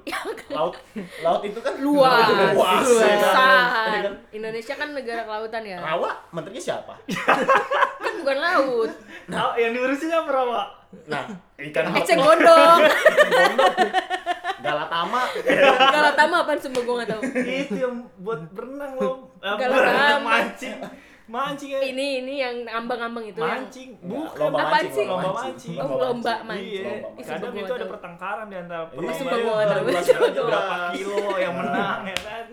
S4: laut laut itu kan
S2: Ya, Luas,
S4: luas ya kan? Ya
S2: Besar.
S4: kan?
S2: Indonesia kan negara kelautan ya.
S4: rawa menterinya siapa
S2: Kan bukan laut.
S1: Nah, yang diurusin apa Rama?
S4: nah ikan laut
S2: Eceng gondong.
S4: galatama
S2: Galatama apaan sumpah gue gak tau.
S1: itu yang buat berenang lo. Eh,
S2: Galau
S1: berenang
S2: amat.
S1: mancing. Mancing ya.
S2: Ini ini yang ambang-ambang itu ya. yang
S1: mancing. Bukan.
S4: Iya,
S1: kan?
S4: lomba
S2: apaan
S4: mancing,
S2: sih?
S1: Lomba mancing.
S2: Oh, lomba mancing.
S1: Iya,
S4: Lomba mancing.
S1: kadang
S2: Sumpah
S1: itu
S2: gua
S1: ada
S2: tahu.
S1: pertengkaran di antara
S4: Iya,
S1: perempuan.
S2: sumpah gua tahu.
S1: berapa
S4: Jelas.
S1: kilo yang menang ya kan.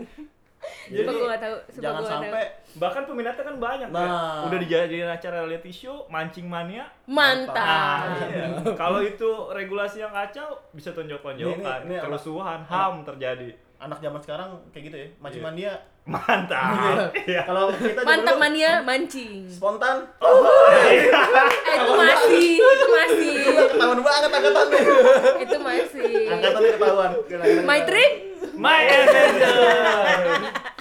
S2: Sumpah gue gak tau. Sumpah gua
S4: jangan
S2: nggak tahu.
S4: sampai
S1: Bahkan peminatnya kan banyak
S4: Nah.
S1: kan? Udah dijadiin acara reality show, mancing mania.
S2: Mantap.
S1: Ah, iya. Kalau itu regulasi yang kacau bisa tonjok-tonjokan,
S4: Ini- ini- ini-
S1: kerusuhan, HAM terjadi.
S4: anak zaman sekarang kayak gitu ya mancing
S1: Iya.
S4: mania
S1: Mantap. Iya.
S4: kalau kita
S2: Mantap
S4: dulu
S2: mania mancing.
S4: spontan Oh,
S2: Eh, itu masih, itu masih,
S4: iya, ketahuan banget angkatan nih
S2: itu masih.
S4: angkatan nih ketahuan
S2: My trip?
S1: My Avenger.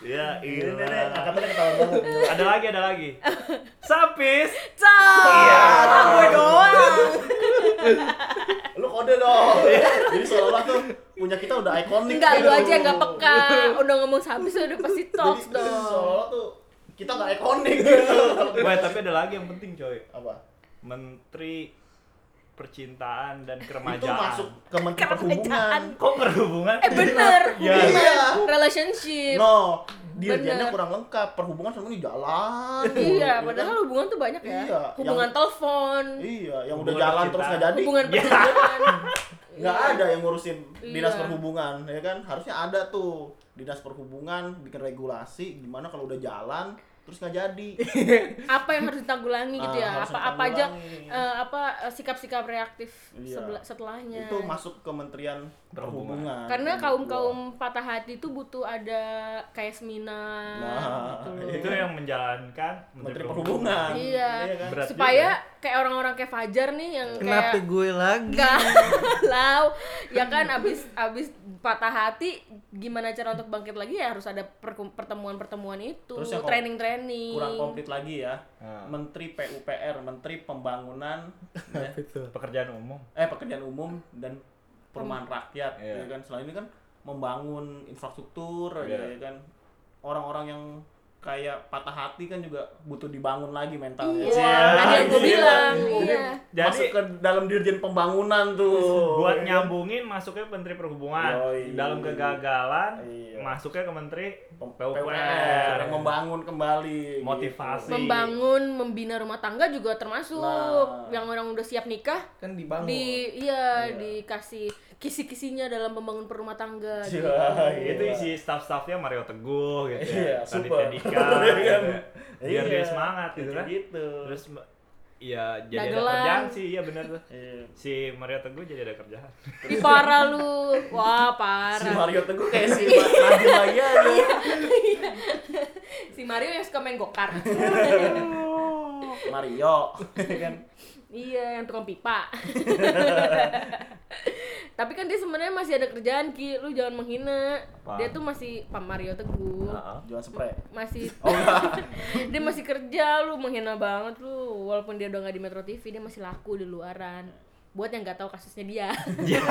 S1: ya,
S4: Ini, ini,
S1: ilah.
S4: angkatan nih ketahuan banget
S1: Ada lagi, ada lagi. Sapis.
S4: Iya.
S2: Cok. Gue doang.
S4: lu kode dong
S1: Iya.
S4: jadi seolah-olah tuh punya kita udah ikonik
S2: Enggak, lu
S4: gitu.
S2: aja yang gak peka. Udah ngomong habis udah pasti
S4: jadi
S2: talks dong.
S4: seolah-olah tuh kita nggak ikonik gitu
S1: Wah, tapi ada lagi yang penting, coy.
S4: apa
S1: Menteri percintaan dan
S4: itu
S1: keremajaan.
S4: masuk ke menteri perhubungan
S2: Kerajaan.
S1: Kok berhubungan?
S2: Eh bener,
S1: Iya.
S2: bener. Relationship.
S4: Ya, no dirjennya
S2: Iya. Bener.
S4: kurang lengkap perhubungan sama ini jalan
S2: Iya,
S4: mulu, ya kan?
S2: padahal hubungan tuh banyak ya.
S4: Iya,
S2: Hubungan
S4: yang-
S2: telepon,
S4: iya yang udah
S1: Hubungan
S4: jalan
S1: percintaan.
S4: terus nggak jadi
S2: hubungan
S1: Iya.
S2: percintaan.
S4: nggak ada yang ngurusin dinas
S2: Iya.
S4: perhubungan ya kan harusnya ada tuh dinas perhubungan bikin regulasi gimana kalau udah jalan terus nggak jadi
S2: Apa yang harus ditanggulangi gitu
S4: Nah,
S2: ya?
S4: harus
S2: Apa apa aja
S4: ditanggulangi.
S2: eh, apa eh, sikap-sikap reaktif
S4: Iya.
S2: sebela- setelahnya.
S4: itu Iya. masuk kementerian
S1: Perhubungan.
S4: perhubungan
S2: Karena
S4: Yang kedua.
S2: kaum-kaum patah hati itu butuh ada kayak seminar
S4: Nah,
S1: Itu yang menjalankan
S4: Menteri Perhubungan.
S2: Iya.
S4: Iya kan?
S1: Berat
S2: Supaya kayak orang-orang kayak Fajar nih yang
S3: Kenapa
S2: kayak
S3: gue lagi?
S2: galau ya kan abis abis patah hati gimana cara untuk bangkit lagi ya harus ada perku- pertemuan-pertemuan itu
S4: Terus yang kom-
S2: training-training
S4: kurang komplit lagi ya
S1: Ah.
S4: menteri PUPR menteri pembangunan ya.
S3: Betul.
S1: pekerjaan umum
S4: eh pekerjaan umum dan perumahan rakyat
S1: Iya.
S4: ya kan selain ini kan membangun infrastruktur
S1: Iya.
S4: ya kan orang-orang yang kayak patah hati kan juga butuh dibangun lagi mentalnya
S2: Iya, tadi yang gue
S4: Anjir.
S2: bilang, iya.
S4: masuk
S1: jadi
S4: ke dalam dirjen pembangunan tuh kan?
S1: buat nyambungin masuknya ke menteri perhubungan
S4: Oh, iya. Yoi.
S1: dalam kegagalan
S4: Iya.
S1: masuknya ke menteri
S4: PUPR
S1: PUPR
S4: yang membangun kembali gitu.
S1: motivasi
S2: membangun membina rumah tangga juga termasuk
S4: Nah.
S2: yang orang udah siap nikah
S3: Kan dibangun.
S2: di iya dikasih kisi-kisinya dalam membangun perumah tangga
S4: gitu.
S2: gitu.
S4: Iya,
S1: itu
S4: iya.
S1: isi staff-staffnya Mario Teguh gitu ya
S4: Iya,
S1: Raditya
S4: super.
S1: Dika gitu
S4: Iya.
S1: ya. biar dia
S4: Iya.
S1: semangat gitu kan
S4: Kayak gitu
S1: terus me- iya jadi ada
S2: Dagelan.
S1: kerjaan sih iya bener tuh
S4: Iya.
S1: si Mario Teguh jadi ada kerjaan
S2: Ih, parah lu. Wah, parah.
S4: si Mario Teguh kayak si Nadiem lagi aja
S2: Si Mario yang suka main go-kart.
S4: Mario kan
S2: iya, yang tukang pipa. Tapi kan dia sebenarnya masih ada kerjaan Ki, lu jangan menghina.
S1: Apa?
S2: Dia tuh masih Pak Mario Teguh.
S4: jualan Ah, spray
S2: Masih Dia masih kerja lu menghina banget lu. Walaupun dia udah nggak di Metro TV, dia masih laku di luaran. Buat yang nggak tahu kasusnya dia.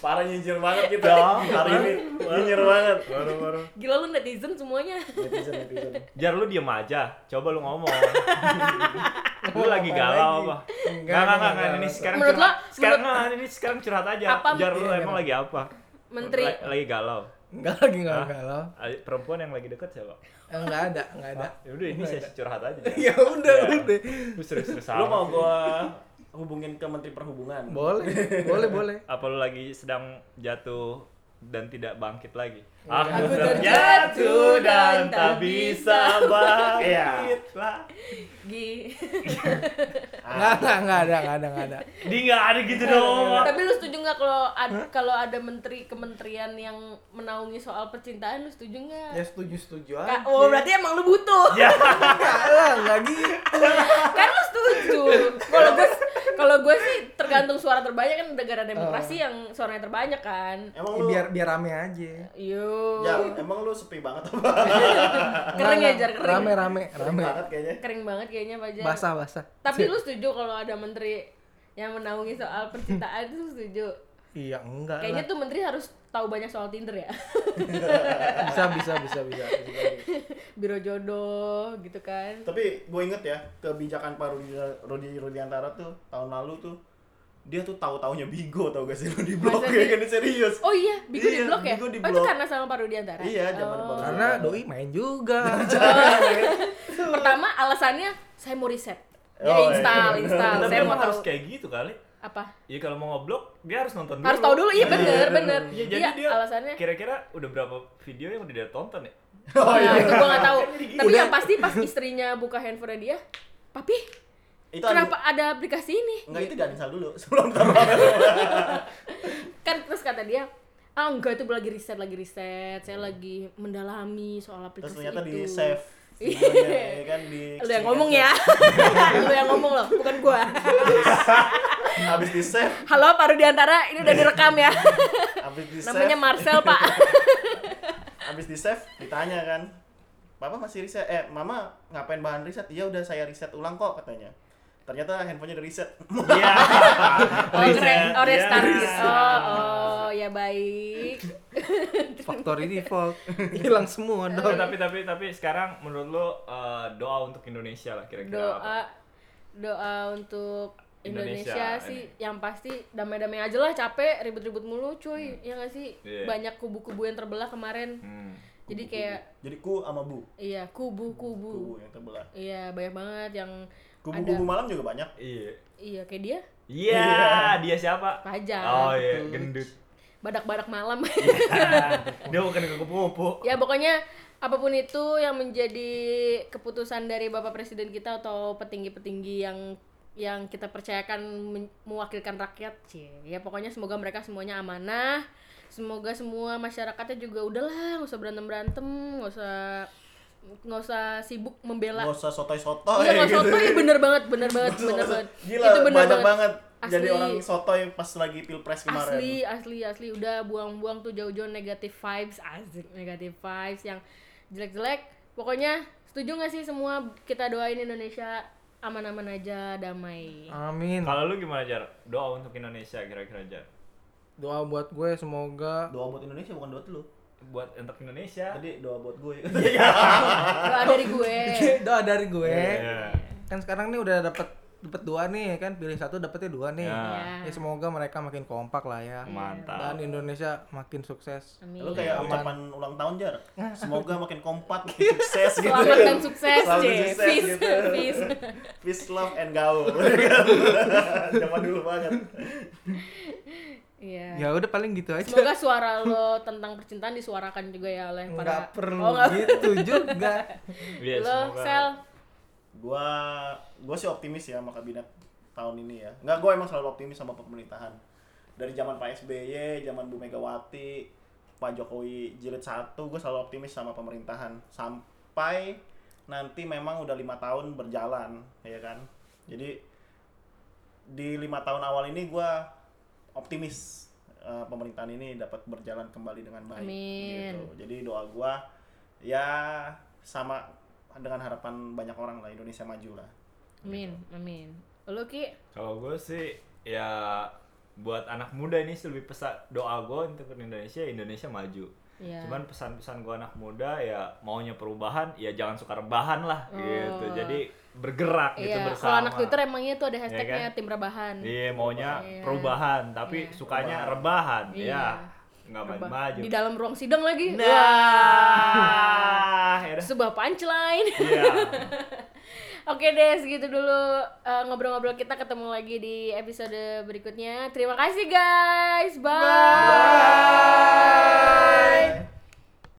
S4: parah nyinyir banget kita hari ini nyinyir banget baru baru
S2: Gila lu netizen semuanya.
S4: netizen netizen
S1: Jar lu diem aja, coba lu ngomong. lu lagi galau apa? Enggak, enggak, enggak, enggak, ini sekarang
S2: Menurut
S1: curhat.
S2: lo-
S1: sekarang
S2: menurut-
S1: enggak, ini sekarang curhat aja.
S2: Apa?
S1: Jar lu
S3: Iya,
S1: emang
S3: iya.
S1: lagi apa?
S2: Menteri
S1: Lagi, lagi galau.
S3: Enggak lagi enggak
S1: Hah?
S3: galau.
S1: Ah, Perempuan yang lagi deket siapa?
S3: Enggak ada, enggak ada.
S1: Ya udah ini saya curhat aja.
S3: Ya udah,
S1: Iya.
S3: udah.
S1: Lu serius-serius
S4: lu mau
S1: amat.
S4: gua hubungin ke Menteri Perhubungan
S3: Boleh, boleh, boleh.
S1: Apa lu lagi sedang jatuh dan tidak bangkit lagi? Aku,
S2: Aku terjatuh
S1: terjatuh dan
S2: dan tak
S1: tak bisa bangkit lah.
S2: Gi.
S3: Enggak ada, enggak ada, enggak ada, enggak ada.
S1: Di nggak ada gitu dong.
S2: Iya. Tapi lu setuju nggak kalau ad- kalau ada menteri kementerian yang menaungi soal percintaan lu setuju nggak?
S3: Ya setuju-setuju aja.
S2: Ka- oh berarti emang lu butuh.
S1: Ya.
S3: Enggak lah, enggak gitu.
S2: kan lu setuju. Kalau gue kalau gue sih tergantung suara terbanyak kan negara demokrasi
S4: Ah.
S2: yang suaranya terbanyak kan.
S1: Eh,
S3: Ya,
S4: emang lu
S3: biar biar rame aja.
S2: Yo.
S4: ya emang lu sepi banget apa
S2: Kering ya jar kering.
S3: Rame, rame, rame.
S4: banget kayaknya
S2: Kering banget kayaknya Pak Jar.
S3: Basah, basah.
S2: Tapi lu setuju kalau ada menteri yang menaungi soal percintaan itu setuju.
S3: Iya, enggak
S2: Kayaknya
S3: lah.
S2: tuh menteri harus tahu banyak soal Tinder ya.
S3: Bisa, bisa, bisa, bisa.
S2: Biro jodoh gitu kan.
S4: tapi gue inget ya kebijakan Pak Rudi Rudi Rudiantara tuh tahun lalu tuh dia tuh tahu taunya bigo tau gak sih lu di blok
S2: Masa
S4: ya
S2: sih?
S4: kan serius
S2: Oh iya, Bigo
S4: Iya,
S2: di blok ya?
S4: Bigo di
S2: Oh itu
S4: blok.
S2: karena sama Pak Rudiantara?
S4: Iya, zaman
S2: Oh.
S4: Pak Rudiantara.
S3: Karena doi main juga.
S2: Pertama alasannya saya mau riset. Dia
S4: Oh,
S2: install,
S4: iya.
S2: install.
S1: Tapi
S2: saya mau
S1: emang harus
S2: tahu
S1: kayak gitu kali.
S2: apa?
S1: Iya kalau mau ngeblok dia harus nonton dulu.
S2: Harus tahu dulu, iya bener, bener.
S1: Iya jadi
S2: Iya,
S1: dia
S2: alasannya.
S1: kira-kira udah berapa video yang udah dia tonton ya?
S4: Oh,
S2: Nah, itu
S4: iya.
S2: gua nggak tahu.
S1: Jadi gitu.
S2: Tapi
S3: Udah.
S2: yang pasti pas istrinya buka handphone dia, papi,
S4: itu
S2: kenapa ada aplikasi ini?
S4: enggak iya. itu jangan dulu sebelum taruh
S2: Kan terus kata dia, ah enggak itu lagi riset, lagi riset. Saya lagi mendalami soal
S4: Hmm. terus
S2: aplikasi
S4: ternyata
S2: itu.
S4: di save
S2: Iya.
S4: videonya, ya kan di
S2: Lu yang ngomong ya. Lu yang ngomong loh, bukan gua.
S4: habis di save
S2: Halo Pak Rudiantara, ini udah direkam ya.
S4: habis di save
S2: Namanya Marcel, Pak.
S4: habis di save ditanya kan Papa masih riset, eh mama ngapain bahan riset? Iya udah saya riset ulang kok katanya. Ternyata handphonenya udah riset.
S1: Iya.
S2: Oh, keren. Oh,
S1: Iya.
S2: restart. Oh, oh, ya baik.
S3: Faktor ini default hilang semua
S1: Tapi,
S3: dong.
S1: tapi tapi tapi sekarang menurut lo eh, doa untuk Indonesia lah kira-kira apa?
S2: Doa doa untuk Indonesia,
S1: Indonesia,
S2: sih yang pasti damai-damai aja lah capek ribut-ribut mulu cuy ya nggak sih
S1: Iya.
S2: banyak kubu-kubu yang terbelah kemarin
S1: Hmm.
S2: jadi kayak
S4: Jadi ku sama bu,
S2: iya kubu-kubu
S4: ku yang terbelah.
S2: iya banyak banget yang ada
S4: Kubu-kubu malam juga banyak.
S1: Iya.
S2: iya kayak dia
S1: Iya, dia siapa?
S2: Fajar.
S1: Oh iya, gendut.
S2: badak-badak malam
S1: dia bukan kupu-kupu.
S2: ya pokoknya apapun itu yang menjadi keputusan dari bapak presiden kita atau petinggi-petinggi yang yang kita percayakan men- mewakilkan rakyat cie ya pokoknya semoga mereka semuanya amanah semoga semua masyarakatnya juga udahlah nggak usah berantem berantem nggak usah nggak usah sibuk membela
S4: Gak usah
S2: iya
S4: sotoy-sotoy.
S2: nggak
S4: gitu.
S2: usah tuh bener banget bener banget
S4: Nggak usah-
S2: bener banget
S4: Gila,
S2: itu bener
S4: banyak banget.
S2: Asli.
S4: jadi orang sotoy pas lagi pilpres kemarin.
S2: asli asli asli udah buang-buang tuh jauh-jauh negatif vibes asik negatif vibes yang jelek-jelek pokoknya setuju nggak sih semua kita doain Indonesia aman-aman aja
S4: Ah.
S2: damai
S3: Amin.
S1: Kalau lu gimana Jar? Doa untuk Indonesia kira-kira Jar.
S3: Doa buat gue semoga
S4: Doa buat Indonesia bukan doa lu.
S1: Buat untuk
S2: Ya.
S1: Indonesia.
S4: Tadi doa buat gue.
S2: Iya. doa dari gue
S3: doa dari gue.
S1: Iya.
S3: Kan sekarang nih udah dapet dapet dua nih kan pilih satu dapetnya dua nih.
S1: Ya.
S3: Ya semoga mereka makin kompak lah ya. Dan
S2: Iya.
S1: Mantap.
S3: Indonesia makin sukses.
S2: amin
S4: Lu kayak ucapan ulang tahun jar. Semoga makin kompak, makin
S2: Iya.
S4: sukses gitu.
S2: selamat dan sukses
S4: Selamat
S2: J
S4: dan sukses,
S2: peace
S4: gitu.
S2: peace
S4: Peace, love, and gaul. Zaman dulu banget.
S2: iya
S3: Ya udah paling gitu aja.
S2: semoga suara lo tentang percintaan disuarakan juga ya oleh para
S3: nggak perlu
S2: oh, nggak-
S3: gitu juga.
S1: Iya,
S2: lo
S1: semoga.
S2: sel
S4: Gua gua sih optimis ya sama kabinet tahun ini ya. Enggak, gua emang selalu optimis sama pemerintahan. Dari zaman Pak SBY, zaman Bu Megawati, Pak Jokowi jilid satu, gue selalu optimis sama pemerintahan sampai nanti memang udah lima tahun berjalan, ya kan? Jadi di lima tahun awal ini gua optimis eh, pemerintahan ini dapat berjalan kembali dengan baik.
S2: Amin.
S4: Gitu. Jadi doa gua ya sama dengan harapan banyak orang lah Indonesia maju lah.
S2: amin amin lo ki
S1: Kalau gue sih ya buat anak muda ini sih lebih pesan doa gue untuk Indonesia ya Indonesia maju.
S2: Iya.
S1: Cuman pesan-pesan gue anak muda ya maunya perubahan ya jangan suka rebahan lah gitu.
S2: Oh.
S1: Jadi bergerak gitu
S2: Iya,
S1: bersama.
S2: kalau anak Twitter emang itu ada hashtagnya
S1: kan?
S2: tim rebahan.
S1: Iya maunya
S2: Iya.
S1: perubahan tapi
S2: Iya.
S1: sukanya rebahan
S2: Iya.
S1: ya nggak
S2: Reba-
S1: maju-maju.
S2: Di dalam ruang sidang lagi.
S1: Nah, ya
S2: Wah,
S1: udah.
S2: sebuah punchline.
S1: Iya.
S2: Oke deh, segitu dulu eh, ngobrol-ngobrol kita ketemu lagi di episode berikutnya. Terima kasih guys. Bye.
S1: Bye.